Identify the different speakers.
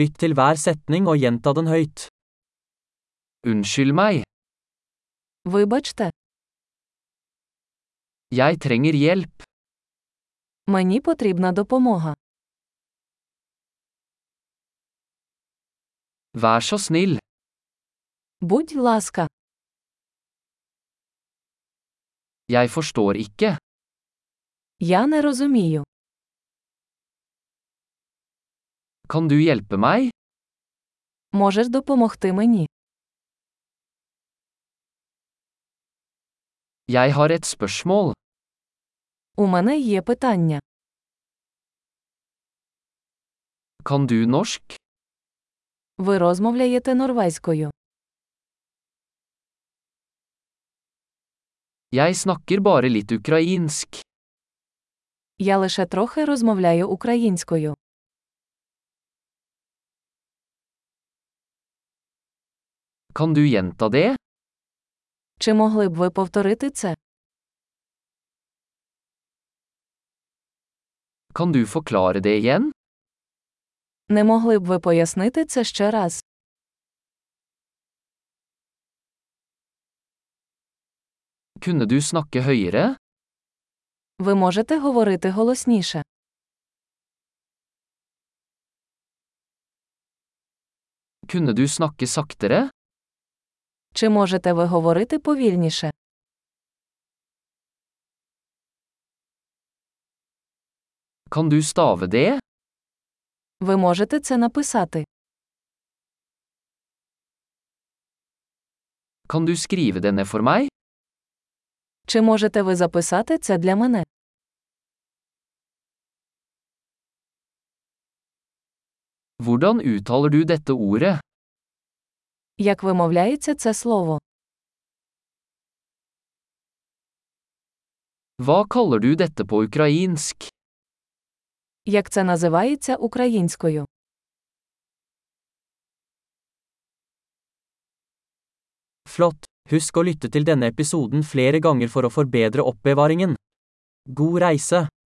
Speaker 1: Lytt til hver setning og gjenta den høyt. Unnskyld meg,
Speaker 2: Вибачте,
Speaker 1: jeg trenger hjelp.
Speaker 2: мені потрібна допомога.
Speaker 1: Vær så snill,
Speaker 2: Будь ласка,
Speaker 1: jeg forstår ikke.
Speaker 2: я не розумію.
Speaker 1: Kan du hjelpe meg?
Speaker 2: Можеш допомогти мені?
Speaker 1: Jeg har et spørsmål.
Speaker 2: У мене є питання.
Speaker 1: Kan du norsk?
Speaker 2: Ви розмовляєте норвезькою.
Speaker 1: Jeg snakker bare litt ukrainsk.
Speaker 2: Я лише трохи розмовляю українською.
Speaker 1: Kan du gjenta det?
Speaker 2: Чи могли б ви повторити це?
Speaker 1: Kan du forklare det igjen?
Speaker 2: Не могли б ви пояснити це ще раз?
Speaker 1: Kunne du snakke høyere?
Speaker 2: Ви можете говорити голосніше.
Speaker 1: Kunne du snakke saktere?
Speaker 2: Чи можете ви говорити повільніше?
Speaker 1: Kan du stave det?
Speaker 2: Ви можете це написати.
Speaker 1: Kan du skrive det ned for meg?
Speaker 2: Чи можете ви записати це для мене?
Speaker 1: Hvordan uttaler du dette ordet?
Speaker 2: Як вимовляється це слово?
Speaker 1: Hva kaller du dette på ukrainsk?
Speaker 2: Як це називається українською?
Speaker 1: Flott! Husk å lytte til denne episoden flere ganger for å forbedre oppbevaringen. God reise!